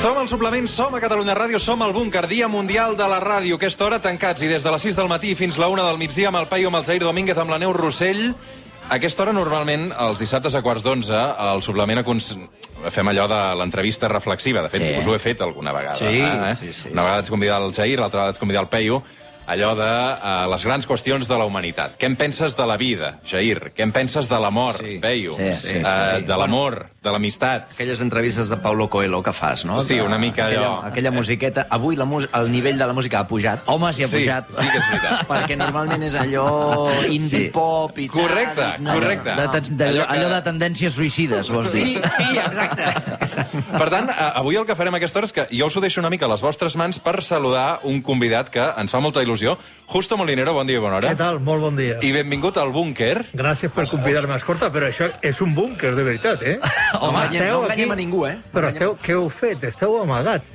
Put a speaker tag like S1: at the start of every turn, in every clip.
S1: Som al suplement, som a Catalunya Ràdio, som al búnquer, dia mundial de la ràdio. Aquesta hora tancats i des de les 6 del matí fins la 1 del migdia amb el Paio, amb el Zair Domínguez, amb la Neus Rossell. A aquesta hora, normalment, els dissabtes a quarts d'onze, al suplement acons... fem allò de l'entrevista reflexiva. De fet,
S2: Sí.
S1: us ho he fet alguna vegada.
S2: Sí,
S1: eh?
S2: sí, sí.
S1: Una vegada ets convidat al Zair, l'altra vegada ets convidat al Peyu allò de uh, les grans qüestions de la humanitat. Què en penses de la vida, Jair? Què en penses de la mort, sí. Peyu?
S2: Sí, sí,
S1: Eh,
S2: sí, sí.
S1: de l'amor, de l'amistat?
S2: Aquelles entrevistes de Paulo Coelho que fas, no?
S1: Sí,
S2: De-
S1: una mica allò.
S2: Aquella, aquella musiqueta. Avui la mus el nivell de la música ha pujat.
S3: Home, si ha
S1: Sí,
S3: pujat.
S1: sí que és veritat.
S2: Perquè normalment és allò indie
S3: Sí.
S2: pop i tal,
S1: Correcte,
S2: i no,
S1: correcte.
S3: De, de, de, allò,
S1: Allò que-
S3: allò de tendències suïcides, vols dir?
S2: Sí, sí, exacte.
S1: Per tant, a- avui el que farem a aquesta hora és que jo us ho deixo una mica a les vostres mans per saludar un convidat que ens fa molta il·lusió. Justo Molinero, bon dia i bona hora.
S4: Què tal? Molt bon dia.
S1: I benvingut al búnquer.
S4: Gràcies per convidar-me. Escolta, però això és un búnquer, de veritat, eh?
S2: Home,
S4: Esteu
S2: no enganyem
S4: aquí-
S2: a ningú, eh?
S4: Però esteu, què heu fet? Esteu amagats.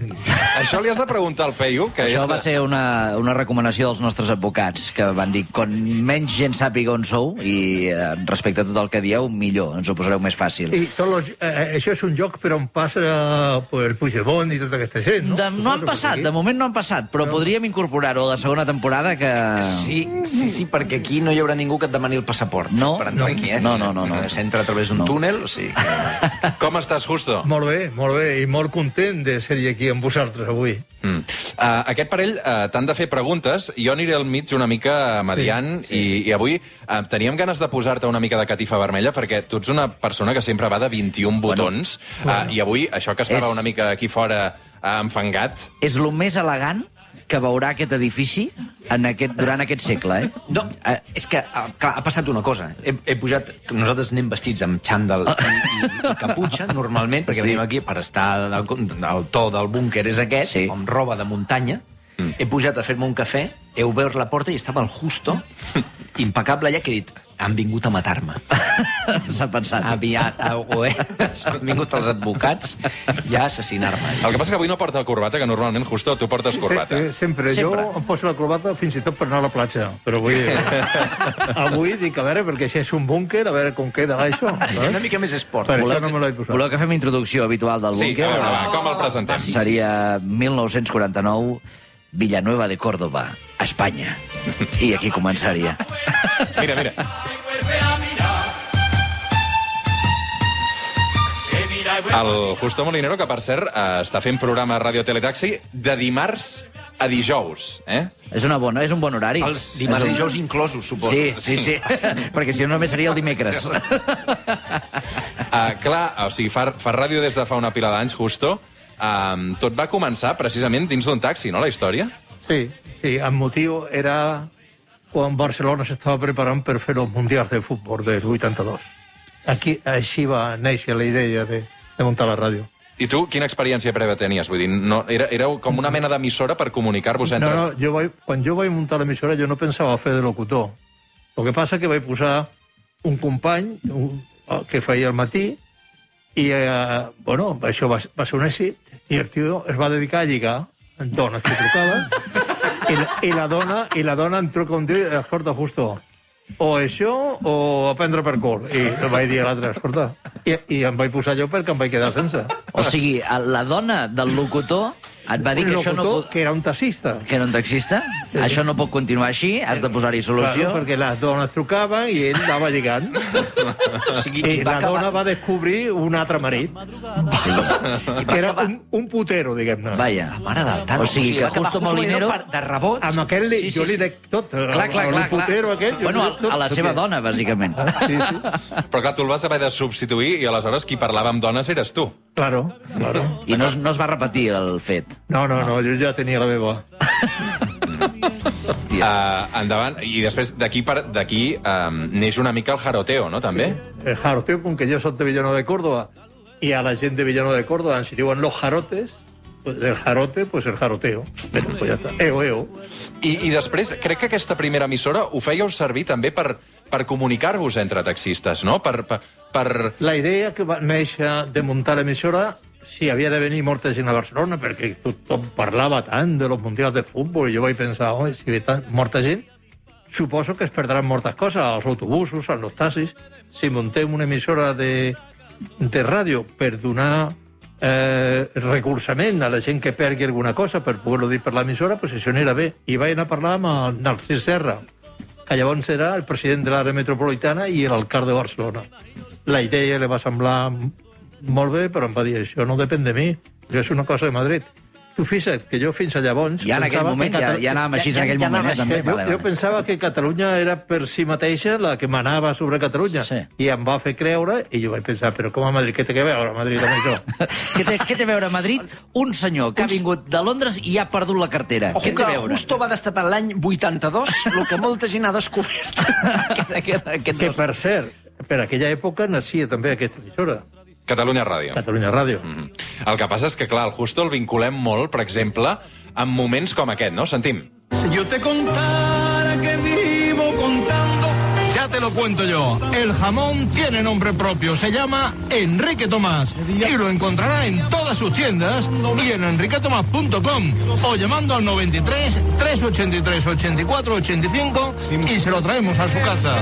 S1: Això li has de preguntar al Peyu, que
S3: Això
S1: és... eh,
S3: va ser una, una recomanació dels nostres advocats, que van dir, com menys gent sàpiga on sou, i eh, respecte a tot el que dieu, millor, ens ho posareu més fàcil.
S4: I tot los, eh, això és un lloc per on passa pues, el Puigdemont i tota aquesta gent, no?
S3: De, no han
S4: Suposo,
S3: passat,
S4: perquè
S3: de moment no han passat, però podríem incorporar-ho a la segona temporada que...
S2: Sí, sí, sí, perquè aquí no hi haurà ningú que et demani el passaport
S3: No.
S2: per entrar
S3: No.
S2: aquí, eh?
S3: No, no, no, no.
S2: S'entra a través d'un
S3: No.
S2: túnel, o sigui... que-
S1: Com estàs, Justo?
S4: Molt bé, molt bé, i molt content de ser aquí amb vosaltres avui.
S1: Mm. Uh, aquest parell uh, t'han de fer preguntes, jo aniré al mig una mica eh, mediant, sí, sí. I, i avui uh, teníem ganes de posar-te una mica de catifa vermella, perquè tu ets una persona que sempre va de 21 botons, bueno, uh, i avui això que estava
S3: És-
S1: una mica aquí fora uh, enfangat,
S3: és el més elegant que veurà aquest edifici en aquest, durant aquest segle, eh?
S2: No, eh, és que, eh, clar, ha passat una cosa. He, he pujat... Nosaltres anem vestits amb xandall i, i, i caputxa, normalment, perquè sí. venim aquí per estar... Del, el to del búnquer és aquest, sí.
S3: Sí.
S2: amb roba de muntanya. Mm. He pujat a fer-me un cafè, he obert la porta i estava el Justo, impecable allà, que he dit, han vingut a matar-me.
S3: S'ha pensat.
S2: Aviat, eh, o eh, han vingut els advocats ja a assassinar-me.
S1: El que passa que avui no porta corbata, que normalment, Justo, tu portes corbata.
S4: Sempre, sempre.
S3: Sempre.
S4: Jo em poso la corbata fins i tot per anar a la platja, però avui... avui dic, a veure, perquè si és un búnquer, a veure com quedarà això.
S2: Sí, una mica més esport.
S4: Per
S3: Voleu
S4: això no me l'he
S3: que-
S4: posat.
S3: Voleu que fem introducció habitual del
S1: Sí,
S3: búnquer?
S1: a veure,
S3: o no?
S1: ah, va, com el presentem?
S3: Seria 1949, Villanueva de Córdoba, Espanya. I aquí començaria.
S1: Mira, mira. El Justo Molinero, que per cert eh, està fent programa a Radio Teletaxi de dimarts a dijous, eh?
S3: És, una bona, és un bon horari.
S2: Els dimarts
S3: És
S2: i
S3: un-
S2: dijous inclosos, suposo.
S3: Sí, sí, sí. Perquè si no només seria el dimecres.
S1: Uh, clar, o sigui, fa, fa ràdio des de fa una pila d'anys, Justo. Um, tot va començar precisament dins d'un taxi, no, la història?
S4: Sí, sí, el motiu era quan Barcelona s'estava preparant per fer els mundials de futbol del 82. Aquí, així va néixer la idea de, de muntar la ràdio.
S1: I tu, quina experiència prèvia tenies? Vull dir, no, era, éreu com una mena d'emissora per comunicar-vos
S4: No,
S1: entre...
S4: no, jo vaig, quan jo vaig muntar l'emissora jo no pensava fer de locutor. El que passa que vaig posar un company un, ah, que feia al matí i, eh, bueno, això va, va ser un èxit i el tio es va dedicar a lligar dones que trucaven i, la- i, la dona, i la dona em truca un dia i escolta, justo, o això o a prendre per cul. I el vaig dir a l'altre, escolta, i, i em vaig posar jo perquè em vaig quedar sense.
S3: O sigui, la dona del locutor et va dir
S4: Un
S3: que això no...
S4: locutor
S3: pot-
S4: que era un taxista.
S3: Que era un taxista? Això no pot continuar així, has de posar-hi solució.
S4: Claro, perquè les dones trucaven i ell anava lligant.
S2: O sigui,
S4: I
S2: va
S4: la
S2: acabar-
S4: dona va descobrir un altre marit. Que era un, un putero, diguem-ne.
S3: Vaja.
S2: Mare del tant.
S3: O sigui, que Justo Molinero...
S2: per- De rebot.
S4: Amb aquell li,
S3: Sí, sí,
S4: jo li
S3: sí.
S4: dec tot.
S3: Clar, clar, clar.
S4: El putero
S3: clar.
S4: aquest... jo
S3: Bueno,
S4: li dec tot,
S3: a, a la seva
S4: perquè-
S3: dona, bàsicament.
S4: Sí, sí.
S1: Però clar, tu el vas haver de substituir i aleshores qui parlava amb dones eres tu.
S4: Claro, claro.
S3: I no, es- no es va repetir el fet.
S4: No, no, no, jo ja tenia la meva.
S3: Hòstia.
S1: Uh, endavant. I després d'aquí per- d'aquí um, neix una mica el jaroteo, no, també?
S4: El jaroteo, Eh, com que jo soc de Villanueva de Córdoba, i a la gent de Villanueva de Córdoba ens diuen los jarotes, pues, del jarote, pues el jaroteo. Bueno, pues ya está. Eo, eo.
S1: I, I després, crec que aquesta primera emissora ho fèieu servir també per, per comunicar-vos entre taxistes, no? Per, per, per...
S4: La idea que va néixer de muntar l'emissora si havia de venir molta gent a Barcelona perquè tothom parlava tant de los mundials de futbol i jo vaig pensar, oi, si ve tan, molta gent suposo que es perdran moltes coses als autobusos, als taxis si muntem una emissora de, de ràdio per donar eh, recolzament a la gent que perdi alguna cosa per poder-ho dir per l'emissora, doncs això anirà bé. I vaig anar a parlar amb el Narcís Serra, que llavors era el president de l'àrea metropolitana i l'alcalde de Barcelona. La idea li va semblar molt bé, però em va dir, això no depèn de mi, això és una cosa de Madrid. Tu fixa't que jo fins a llavons...
S3: Ja en aquell
S4: pensava que
S3: moment, ja,
S4: Catalu-
S3: ja anàvem així
S2: ja-
S3: en aquell
S2: ja
S3: moment, eh,
S2: anava
S3: també.
S4: jo,
S3: Vale,
S4: jo
S3: vale.
S4: pensava que Catalunya era per si mateixa la que manava sobre Catalunya.
S3: Sí.
S4: I em va fer creure, i jo vaig pensar, però com a Madrid, què té que veure Madrid amb això?
S3: Què té, què té a veure a Madrid un senyor que ha vingut de Londres i ha perdut la cartera?
S2: Ojo
S3: Què té a
S2: que
S3: veure?
S2: Justo va destapar l'any 82 el que molta gent ha descobert.
S3: aquest, aquest, aquest
S4: que,
S3: dos.
S4: per cert, per aquella època nacia també aquesta emissora,
S1: Catalunya Ràdio.
S4: Catalunya Ràdio.
S5: Mm-hmm.
S1: El que passa és que, clar, el Justo el vinculem molt, per exemple, amb moments com aquest, no? Sentim.
S6: Si yo te contara que vivo contando.
S5: Ya te lo cuento yo. El jamón tiene nombre propio. Se llama Enrique Tomás. Y lo encontrará en todas sus tiendas y en enriquetomás.com o llamando al 93 383 84 85 y se lo traemos a su casa.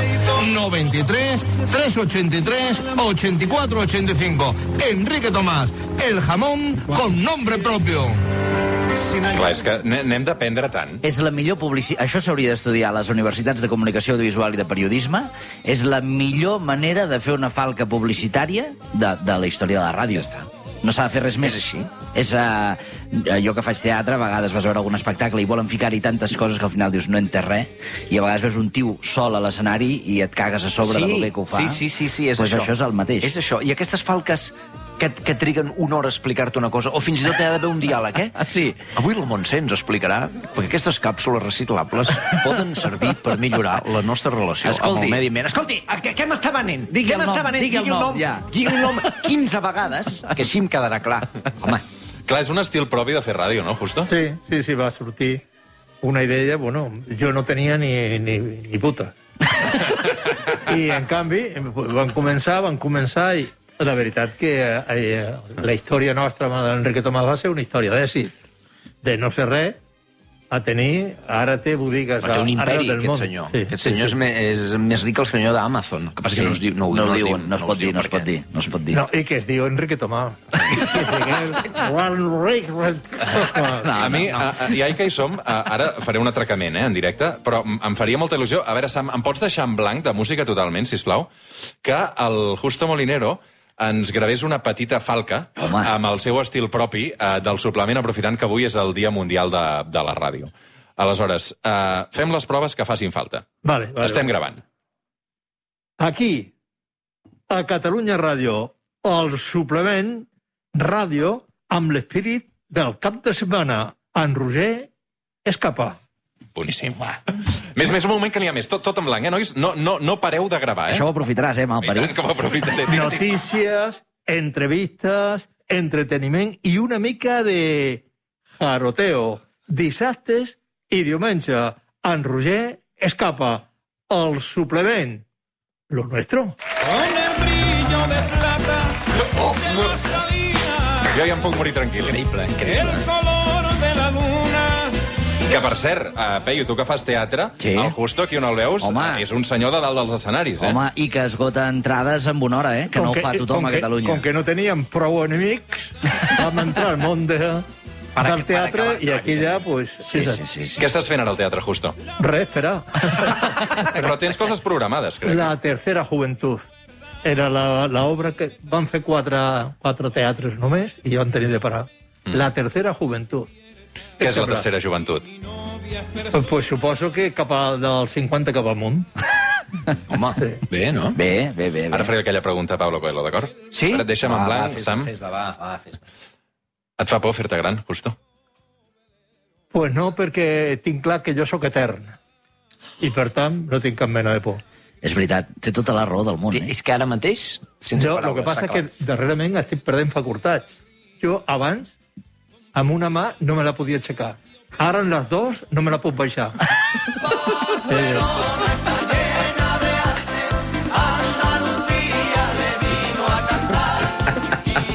S5: 93 383 84 85. Enrique Tomás. El jamón con nombre propio.
S1: Clar, és que n- n'hem d'aprendre tant.
S3: És la millor publicitat... Això s'hauria d'estudiar a les universitats de comunicació audiovisual i de periodisme. És la millor manera de fer una falca publicitària de, de la història de la ràdio. Ja no s'ha de fer res més. És així. És, uh, jo que faig teatre, a vegades vas a veure algun espectacle i volen ficar-hi tantes coses que al final dius no entès res, i a vegades veus un tio sol a l'escenari i et cagues a sobre de lo bé que ho fa.
S2: Sí, sí, sí, sí és
S3: pues
S2: això.
S3: això. és el mateix.
S2: És això. I aquestes falques que, que triguen una hora a explicar-te una cosa, o fins i tot hi ha d'haver un diàleg, eh?
S3: Sí.
S2: Avui la Montse ens explicarà perquè aquestes càpsules reciclables poden servir per millorar la nostra relació amb
S3: Escolti.
S2: el medi ambient. Escolti, a què, què m'està venent?
S3: Digui
S2: què
S3: el nom,
S2: m'està venent?
S3: digui el nom, ja.
S2: Digui el nom 15 vegades, que així em quedarà clar. Home,
S1: Clar, és un estil propi de fer ràdio, no, Justo?
S4: Sí, sí, sí, va sortir una idea, bueno, jo no tenia ni, ni, ni puta. I, en canvi, van començar, van començar, i la veritat que eh, la història nostra amb l'Enrique Tomàs va ser una història d'èxit, de no ser res, a tenir, ara té botigues
S2: Però té un
S4: a- arreu
S2: imperi,
S4: del
S2: aquest
S4: món.
S2: senyor. Sí, aquest senyor sí, sí. És, me- és més ric que el senyor d'Amazon. El Que passa sí. que no, es diu, no, ho-
S3: no,
S2: no
S3: ho
S2: es
S3: diuen,
S2: diu,
S3: no es pot dir, no es pot dir, no es pot dir.
S4: No, i que es diu Enrique Tomàs. Enrique Tomàs.
S1: A mi, a, a, ja que hi som, a, ara faré un atracament, eh, en directe, però m- em faria molta il·lusió. A veure, Sam, em pots deixar en blanc de música totalment, si plau, que el Justo Molinero ens gravés una petita falca
S3: Home.
S1: amb el seu estil propi eh, del suplement, aprofitant que avui és el Dia Mundial de, de la Ràdio. Aleshores, eh, fem les proves que facin falta.
S4: Vale, vale.
S1: Estem gravant.
S4: aquí, a Catalunya Ràdio, el suplement ràdio amb l'espirit del cap de setmana. En Roger Escapa.
S1: Boníssim. Més, més, un moment que n'hi ha més. Tot, tot en blanc, eh, nois? No, no, no pareu de gravar, eh?
S3: Això ho aprofitaràs,
S1: I
S3: eh,
S1: tant
S3: malparit?
S1: que ho aprofitaré. Tira, tira.
S4: Notícies, entrevistes, entreteniment i una mica de jaroteo. Dissabtes i diumenge. En Roger Escapa. El suplement. Lo nuestro.
S6: Con el brillo de plata de nuestra vida.
S1: Jo ja em puc morir tranquil. Increïble,
S6: El color de la luna.
S1: Que, per cert, uh, Peyu, tu que fas teatre,
S3: Sí.
S1: el Justo, aquí on el veus, eh,
S3: Home.
S1: és un senyor de dalt dels escenaris, eh?
S3: Home, i que esgota entrades en una hora, eh? Que no ho fa tothom
S4: com
S3: a
S4: que-
S3: Catalunya.
S4: Com que no teníem prou enemics, vam entrar al món de,
S2: Per ac-
S4: del
S2: per
S4: teatre
S2: acabar,
S4: i aquí ja, pues,
S3: Sí, sí, sí, sí.
S1: Què estàs fent ara al teatre, Justo?
S4: res, espera.
S1: Però tens coses programades, crec.
S4: La tercera juventud era la, la obra que van fer quatre, quatre teatres només i van tenir de parar.
S3: Mm.
S4: La tercera juventud.
S1: Què és la
S4: Sembla.
S1: tercera joventut?
S4: Pues, pues suposo que cap a, del 50 cap amunt.
S2: Home, bé, no?
S3: Bé, bé, bé. bé.
S1: Ara faré aquella pregunta a Pablo Coelho, d'acord?
S2: Sí?
S1: Ara et deixa'm en blanc, Sam.
S2: Fes-la, va, va, fes-la.
S1: Et fa por fer-te gran, Justo?
S4: Pues no, perquè tinc clar que jo sóc etern. I, per tant, no tinc cap mena de por.
S3: És veritat, té tota la raó del món, eh?
S2: És que ara mateix, sense
S4: Jo, el
S2: paraules,
S4: que passa
S2: s'ha
S4: és que darrerament estic perdent facultats. Jo abans, amb una mà, no me la podia aixecar. Ara, en les dues, no me la puc baixar. eh,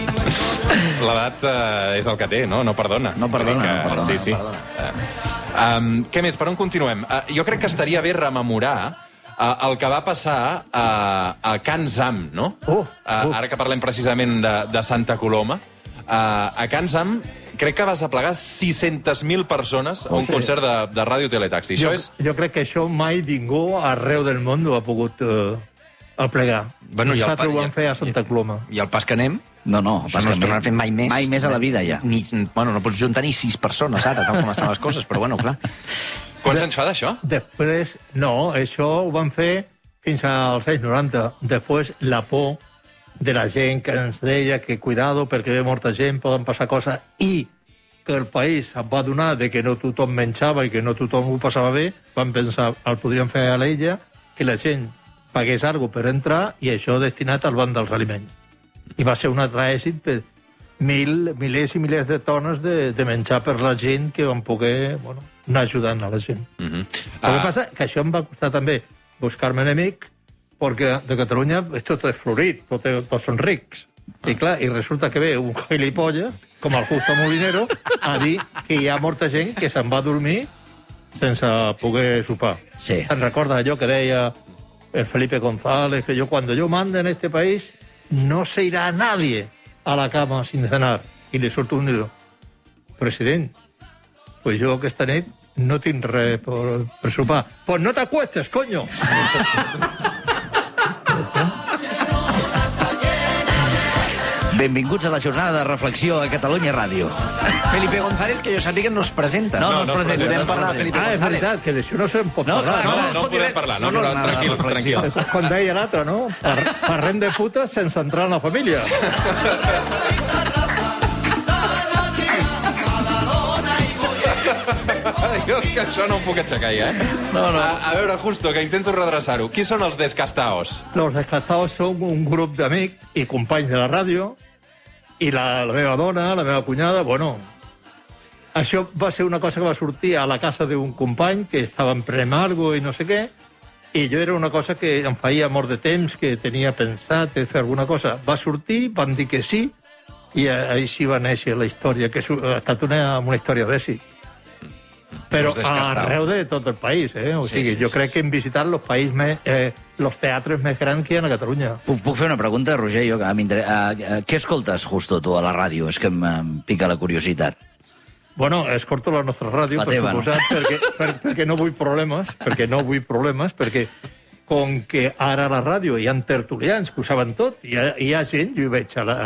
S1: L'edat eh, és el que té, no? No perdona.
S3: No perdona,
S1: Vull dir
S3: no perdona,
S1: Sí, sí.
S3: no
S1: Eh, Um, què més? Per on continuem? Uh, jo crec que estaria bé rememorar uh, el que va passar uh, a Can Zam, no? Eh,
S4: Oh,
S1: Uh, ara que parlem precisament de, de Santa Coloma, uh, a Can Sam crec que vas aplegar 600.000 persones a un concert de, de Ràdio Teletaxi.
S4: Jo,
S1: Això és...
S4: jo crec que això mai ningú arreu del món ho ha pogut eh, aplegar.
S2: Bueno, i el
S4: Nosaltres
S2: pa-
S4: ho
S2: i el-
S4: vam fer a Santa Coloma.
S2: I el pas que anem,
S3: No, no.
S2: Això no es tornarà a fer mai més.
S3: Mai més a la vida, ja.
S2: ni, bueno, no pots juntar ni sis persones ara, tal com estan les coses, però bueno, clar.
S1: Quants anys fa d'això?
S4: Després, no, això ho van fer fins als anys 90. Després, la por de la gent que ens deia que cuidado perquè ve molta gent, poden passar coses, i que el país es va donar de que no tothom menjava i que no tothom ho passava bé, van pensar, el podrien fer a l'ella, que la gent pagués alguna per entrar i això destinat al banc dels aliments. I va ser un altre èxit per mil, milers i milers de tones de, de menjar per la gent que van poder bueno, anar ajudant a la gent. El que passa que això em va costar també buscar-me enemic, perquè de Catalunya és tot és florit, tot, és, tots són rics. I clar, i resulta que ve un gilipolla, com el Justo Molinero, a dir que hi ha molta gent que se'n va a dormir sense poder sopar.
S3: Sí.
S4: Te'n recorda allò que deia el Felipe González, que yo cuando yo mande en este país no se irá nadie a la cama sin cenar. I li surt un dedo. President, pues jo aquesta nit no tinc res per, per sopar. Pues no t'acuestes, coño!
S3: Benvinguts a la jornada de reflexió a Catalunya Ràdio.
S2: Felipe González, que jo sàpiga, no es presenta.
S3: No, no, es presenta.
S2: Podem
S3: no es
S2: parlar de
S3: presenta.
S2: Felipe
S4: Ah, és
S2: González.
S4: veritat, que d'això no se'n pot
S3: No,
S4: parlar.
S3: clar,
S1: No,
S3: clar.
S1: no podem parlar, no, no,
S3: no, no,
S1: tranquils,
S3: no,
S1: tranquils.
S4: no. Com deia l'altre, no? Par parlem de putes sense entrar en la família.
S1: Ai, jo és que això no ho puc aixecar ja, eh? No, no. A, a veure, Justo, que intento redreçar-ho. Qui són els descastaos?
S4: Los descartados són un grup d'amics i companys de la ràdio, i la, la meva dona, la meva cunyada, bueno... Això va ser una cosa que va sortir a la casa d'un company que estava en premargo i no sé què, i jo era una cosa que em feia molt de temps, que tenia pensat de fer alguna cosa. Va sortir, van dir que sí, i a- així va néixer la història, que és un- ha estat una, una història d'èxit. Però
S1: Us descastau.
S4: arreu de tot el país, eh? O sigui, sí, sí, jo crec que hem visitat els països més... Eh, els teatres més grans que hi ha a Catalunya.
S3: Puc, puc fer una pregunta, Roger? Jo, que m'inter- eh, eh, què escoltes, Justo, tu, a la ràdio? És que em, em pica la curiositat.
S4: Bueno, escorto la nostra ràdio,
S3: La
S4: per
S3: teva, no?
S4: suposat, perquè, per, perquè no vull problemes, perquè no vull problemes, perquè com que ara a la ràdio hi ha tertulians que ho saben tot, hi ha, hi ha gent, jo hi veig a la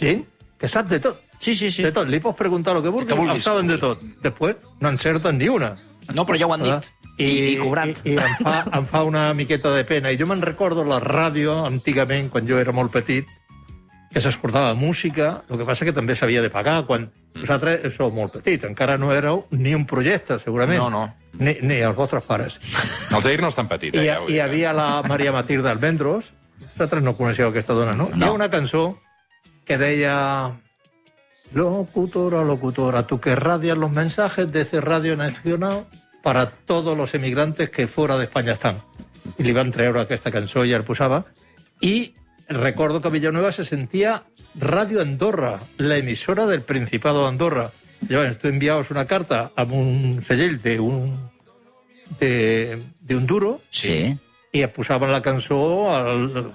S4: gent, que sap de tot.
S3: Sí, sí, sí.
S4: De tot, li pots preguntar el que vulguis,
S2: que vulguis.
S4: en saben de tot. Després no encerten ni una.
S2: No, però ja ho han dit.
S3: I- i cobrant.
S4: Eh? I, i em, fa, em fa una miqueta de pena. I jo me'n recordo la ràdio, antigament, quan jo era molt petit, que s'escoltava música, el que passa que també s'havia de pagar quan vosaltres sou molt petits, encara no éreu ni un projecte, segurament.
S2: No, no.
S4: Ni, ni els vostres pares.
S1: El Jair no és tan petit, eh?
S4: I, hi
S1: ja
S4: ha-
S1: ho
S4: hi
S1: dic.
S4: havia la Maria Matilde Almendros. Vosaltres no coneixeu aquesta dona, no? Hi ha una cançó que deia... Locutora, locutora, tú que radias los mensajes desde Radio Nacional para todos los emigrantes que fuera de España están. I li van treure aquesta cançó i el posava. I recordo que a Villanueva se sentia Radio Andorra, la emisora del Principado de Andorra. Llavors, tu enviaves una carta amb un segell d'un de, de un duro
S3: Sí.
S4: i et posaven la cançó al...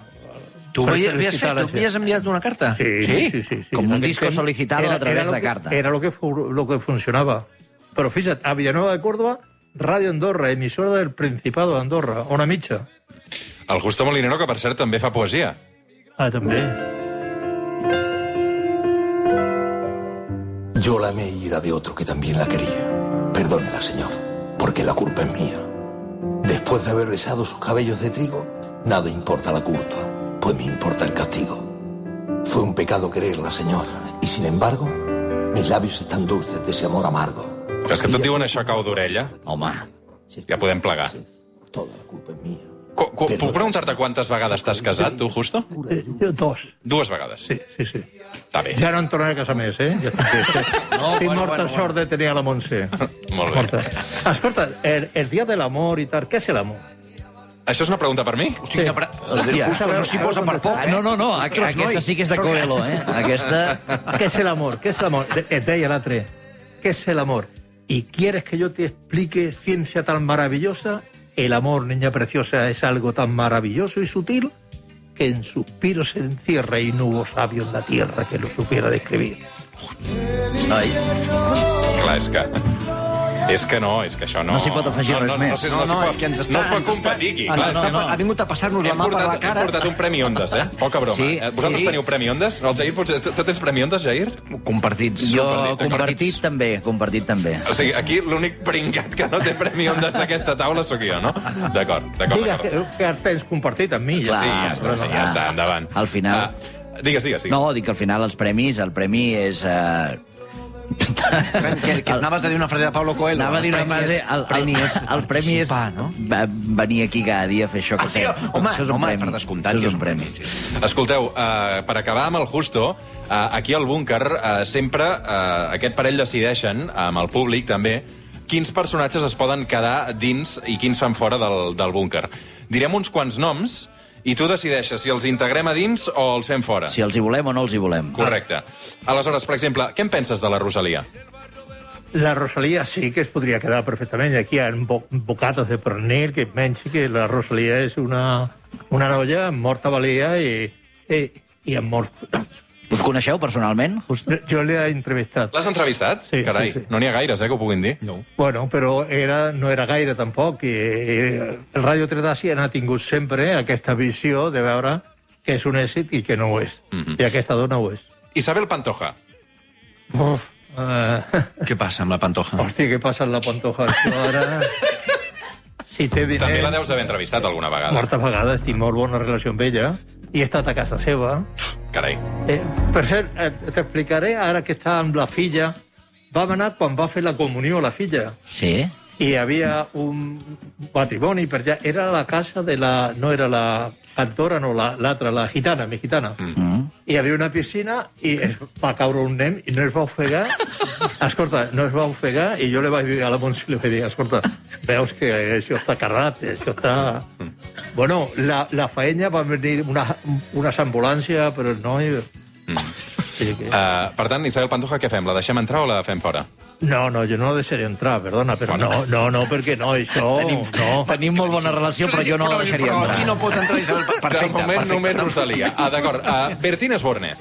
S2: Tu ho
S4: per
S2: havies- havies
S4: felicitar
S2: fet,
S4: la
S2: tu havies
S4: gent.
S2: enviat una carta?
S4: Sí, sí, sí, sí, sí.
S3: Com
S4: En
S3: un
S4: aquell
S3: disco
S4: temps
S3: solicitado a través
S4: lo
S3: de
S4: que-
S3: carta.
S4: Era lo que, fu- lo que funcionava. Però fixa't, a Villanueva de Córdoba, Radio Andorra, emissora del Principado de Andorra, una mitja.
S1: El Justo Molinero, que per cert també fa poesia.
S4: Ah, també.
S7: Yo la amé y era de otro que también la quería. Perdónela, señor, porque la culpa es mía. Después de haber besado sus cabellos de trigo, nada importa la culpa, pues me importa el castigo. Fue un pecado quererla, señor, y sin embargo, mis labios están dulces de ese amor amargo.
S1: És que tot diuen això cau d'orella.
S3: Home,
S1: ja podem plegar.
S7: Toda la culpa es mía.
S1: Cu- cu- Puc preguntar-te quantes vegades t'has casat, tu, Justo?
S4: Eh, Jo, dos.
S1: Dues vegades.
S4: Sí, sí, sí.
S1: Està bé.
S4: Ja no em tornaré a casa més, eh? Ja està bé. No, Tinc bueno, molta bueno, sort de tenir a la Montse.
S1: Molt bé.
S4: Molta. Escolta, el, el dia de l'amor i tal, què és l'amor?
S1: Això és una pregunta per mi?
S2: Hosti, quina pre- Hòstia, Justo, no s'hi posa per poc,
S3: Ah,
S2: eh?
S3: no, no, no, a-
S2: Ostres,
S3: aquesta
S2: noi.
S3: sí que és de Coelho, eh? Aquesta...
S4: ¿Qué es el amor? ¿Qué es el amor? eh, Et deia l'altre. ¿Qué es el amor? ¿Y quieres que yo te explique ciencia tan maravillosa? El amor, niña preciosa, es algo tan maravilloso y sutil que en suspiros se encierra y no hubo sabio en la tierra que lo supiera describir.
S3: Ai,
S1: Clar, és que... És que no, és que això no...
S3: No s'hi pot afegir
S1: no, no,
S3: res
S1: no,
S3: més.
S1: No, no, no, no, es que ens
S2: està-
S1: no es pot
S2: ens està-
S1: competir aquí.
S2: ens
S1: Clar, és
S2: està-
S1: que
S3: Ah, no, no.
S2: Ha vingut a passar-nos la
S1: Hem
S2: mà per
S1: portat,
S2: la cara.
S1: hem portat un Premi Ondes, eh? Poca broma.
S3: Sí,
S1: eh? Vosaltres
S3: sí.
S1: teniu Premi Ondes? El Jair, potser... Tu tu tens Premi Ondes, Jair?
S2: Compartits.
S3: jo
S1: compartit,
S3: compartit,
S1: compartits.
S3: també, compartit també.
S1: O sigui, aquí l'únic pringat que no té Premi Ondes d'aquesta taula sóc jo, no? D'acord, d'acord,
S4: Digue
S1: d'acord.
S4: que, que et tens compartit amb mi.
S1: Sí,
S4: Ja.
S3: Clar.
S1: ja està, sí, ja està, endavant.
S3: Al final.
S1: Ah, digues, digues, digues.
S3: No, dic que al final els premis, el premi és... Eh...
S2: Que, que anaves a dir una frase de Pablo Coelho.
S3: Anava a dir una
S2: El premi
S3: frase...
S2: és-
S3: El, el,
S2: premi és
S3: el premi és
S2: participar, no?
S3: va- venir aquí cada dia a fer això que
S2: Ah, sí?
S3: fem.
S2: Home,
S3: això és un
S2: home,
S3: premi.
S2: per descomptat
S3: Això
S2: que
S3: és un premi.
S1: Escolteu, uh, per acabar amb el Justo, uh, aquí al búnquer uh, sempre uh, aquest parell decideixen, eh, amb el públic també, quins personatges es poden quedar dins i quins fan fora del, del búnquer. Direm uns quants noms i tu decideixes si els integrem a dins o els fem fora.
S3: Si els hi volem o no els hi volem.
S1: Correcte. Aleshores, per exemple, què en penses de la Rosalia?
S4: La Rosalia sí que es podria quedar perfectament. Aquí hi ha bo bocates de pernil que menys que la Rosalia és una, una noia amb morta valia i, i, i amb molt...
S3: Us coneixeu personalment? Just...
S4: Jo l'he entrevistat.
S1: L'has entrevistat?
S4: Sí, sí,
S1: Carai,
S4: sí.
S1: no n'hi ha gaires, eh, que ho puguin dir. No.
S4: Bueno, però era, no era gaire tampoc. I, i el Ràdio Tredàcia ha tingut sempre aquesta visió de veure que és un èxit i que no ho és. Mm
S1: Mhm.
S4: -hmm. I aquesta dona ho és.
S1: Isabel Pantoja.
S4: Uf,
S1: Ah.
S4: uh,
S2: Què passa amb la pantoja?
S4: hòstia, què passa en la Pantoja? Això Ara... Si té diners...
S1: També la deus haver entrevistat alguna vegada.
S4: Moltes vegades tinc molt bona relació amb ella i he estat a casa seva.
S1: Carai.
S4: Eh, per cert, eh, t'explicaré ara que està amb la filla. Vam anar quan va fer la comunió la filla.
S3: Sí?
S4: i hi havia un matrimoni per allà. Era la casa de la... No era la cantora, no, la- l'altra, la, gitana, mi gitana. Mm -hmm. I hi havia una piscina i es va caure un nen i no es va ofegar. Escolta, no es va ofegar i jo li vaig dir a la Montse, li vaig dir, escolta, veus que això està carrat, això està... Bueno, la, la faena va venir una, unes ambulàncies, però no... I... Sí, que...
S1: Uh, per tant, Isabel Pantoja, què fem? La deixem entrar o la fem fora?
S4: No, no, jo no deixaré entrar, perdona, però no, no, no, perquè no, això... no.
S3: Tenim molt bona relació, però jo no la deixaria
S2: Però
S3: entrar.
S2: aquí no pot entrar Isabel. Perfecte,
S1: de moment
S2: perfecte.
S1: només Rosalia. Ah, d'acord. Uh, Bertín Esborne.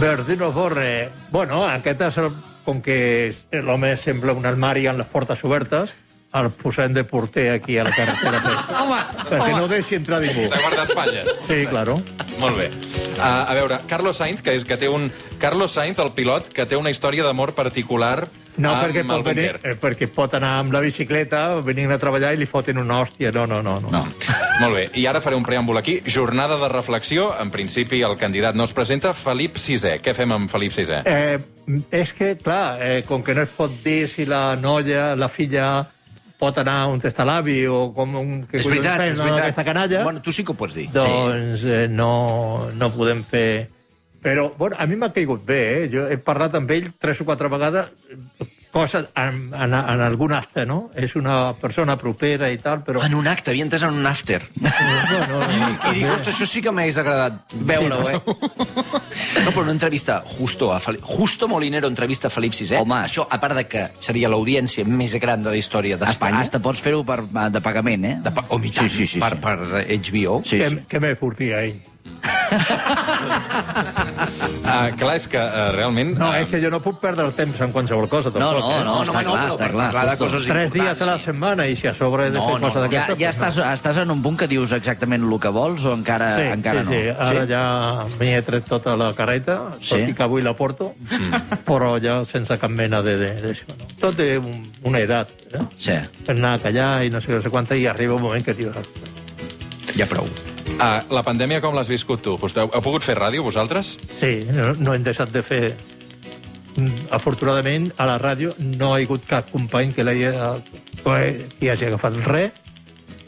S4: Bertino Borre. Bueno, aquest és el, com que eh, l'home sembla un armari amb les portes obertes, el posem de porter aquí a la carretera per, home, perquè no deixi entrar ningú.
S1: De guardaespatlles.
S4: Sí, claro.
S1: Molt bé. Uh, a veure, Carlos Sainz, que, és, que té un... Carlos Sainz, el pilot, que té una història d'amor particular
S4: No,
S2: Ah,
S1: amb
S4: perquè
S1: el
S4: pot, venir,
S1: búnquer.
S4: eh, perquè pot anar amb la bicicleta, venint a treballar i li foten una hòstia. No, no, no. no. no.
S1: Molt bé, i ara faré un preàmbul aquí. Jornada de reflexió. En principi, el candidat no es presenta. Felip VI. Què fem amb Felip VI?
S4: Eh, és que, clar, eh, com que no es pot dir si la noia, la filla, pot anar on està l'avi o com... Que
S2: És veritat, és veritat.
S4: Aquesta canalla...
S2: Bueno, tu sí que ho pots dir.
S4: Doncs eh, no, no podem fer... Però, bueno, a mi m'ha caigut bé, eh? Jo he parlat amb ell tres o quatre vegades, eh, cosa en, en, en algun acte, no? És una persona propera i tal, però...
S2: En un acte, havia entès en un after.
S4: No, no,
S2: I dic, ostres, això Ah, sí que m'hagués agradat veure-ho, eh? No, però una entrevista justo a Felip... Justo Molinero entrevista a Felip VI.
S3: Home.
S2: això, a part de que seria l'audiència més gran de la història
S3: Hasta,
S2: d'Espanya...
S3: hasta pots fer-ho per- de pagament, eh?
S2: De, pa- oh, i tant,
S3: Sí, sí, sí,
S2: per,
S3: sí.
S2: per HBO.
S3: Sí,
S4: Què,
S3: sí.
S4: què me portia ell?
S1: Ah, clar, és que uh, realment...
S4: No,
S1: eh,
S4: és que jo no puc perdre el temps en qualsevol cosa,
S3: No,
S4: tampoc.
S3: no, no,
S2: No, no,
S3: està
S2: no,
S3: clar,
S2: però
S3: està
S2: per
S3: clar.
S2: parlar de
S3: Justo.
S2: coses
S4: Eh? Tres dies a la
S2: sí.
S4: setmana i si a sobre he de
S2: No,
S4: fer
S2: no,
S4: cosa
S3: Ja,
S4: d'aquesta...
S3: ja
S4: doncs
S3: estàs, estàs en un punt que dius exactament el que vols o encara,
S4: Sí,
S3: Eh, encara
S4: sí,
S3: no?
S4: sí. Ara ja m'hi he tret tota la carreta, tot
S3: Sí. Mm.
S4: i que avui la porto, però ja sense cap mena de... de, de això, no? Tot té un, una edat, eh?
S3: Sí.
S4: per anar a callar i no sé què, no sé quanta, i arriba un moment que dius...
S2: Ja prou.
S1: Ah, la pandèmia com l'has viscut tu? Vostè, heu pogut fer ràdio, vosaltres?
S4: Sí, no, no hem deixat de fer... Mm, Afortunadament, a la ràdio no ha hagut cap company que l'hagi eh, que hagi agafat res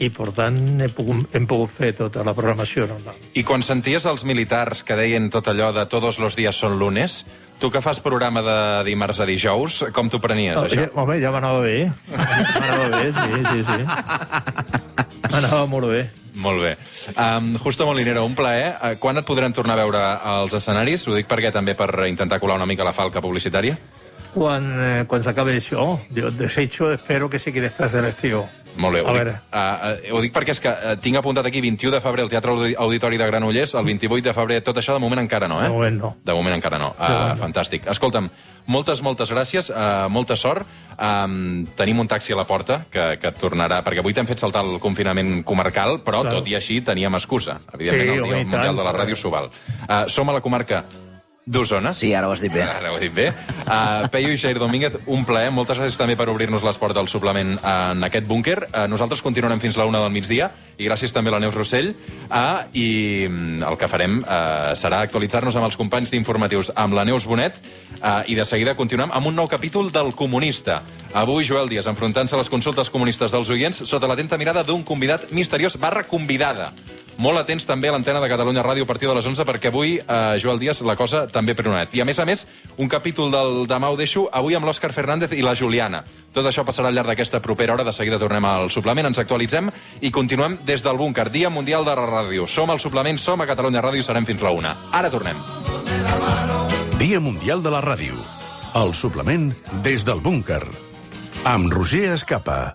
S4: i, per tant, he pogut, hem pogut fer tota la programació normal.
S1: I quan senties els militars que deien tot allò de todos los días son lunes, tu que fas programa de dimarts a dijous, com t'ho prenies,
S4: No,
S1: això?
S4: Oh, ja, home, ja m'anava bé. M'anava bé, sí, sí, sí. M'anava molt bé.
S1: Molt bé. Um, Justo Molinero, un plaer. Uh, quan et podrem tornar a veure als escenaris? Ho dic perquè també per intentar colar una mica la falca publicitària.
S4: quan, eh, quan s'acabi això. Jo desitjo, espero que sigui després de l'estiu.
S1: Molt bé.
S4: A
S1: ho, dic,
S4: veure.
S1: uh, uh, ho dic perquè és que uh, tinc apuntat aquí 21 de febrer al Teatre Audi- Auditori de Granollers, el 28 de febrer, tot això de moment encara no, eh?
S4: De moment no.
S1: De moment encara no. Uh, Fantàstic. Escolta'm, moltes, moltes gràcies, uh, molta sort. Um, tenim un taxi a la porta que, que et tornarà, perquè avui t'hem fet saltar el confinament comarcal, però
S4: Claro.
S1: tot i així teníem excusa. Evidentment,
S4: Sí,
S1: el
S4: home,
S1: Dia
S4: i
S1: Mundial
S4: tant.
S1: de la Ràdio Sobal. Uh, som a la comarca d'Osona.
S3: Sí, ara ho has dit bé.
S1: Ara ho he dit bé. Uh, Peyu i Xair Domínguez, un plaer. Moltes gràcies també per obrir-nos les portes del suplement en aquest búnquer. Uh, nosaltres continuarem fins la una del migdia i gràcies també a la Neus Rossell. Uh, I mm, el que farem uh, serà actualitzar-nos amb els companys d'informatius, amb la Neus Bonet, uh, i de seguida continuem amb un nou capítol del Comunista. Avui, Joel Díaz, enfrontant-se a les consultes comunistes dels oients sota l'atenta mirada d'un convidat misteriós barra convidada. Molt atents també a l'antena de Catalunya Ràdio a partir de les 11, perquè avui, eh, Joel Díaz, la cosa també pronet. I a més a més, un capítol del Demà ho deixo, avui amb l'Òscar Fernández i la Juliana. Tot això passarà al llarg d'aquesta propera hora, de seguida tornem al suplement, ens actualitzem i continuem des del búnquer, Dia Mundial de la Ràdio. Som al suplement, som a Catalunya Ràdio i serem fins la una. Ara tornem.
S8: Dia Mundial de la Ràdio. El suplement des del búnquer. Amb Roger Escapa.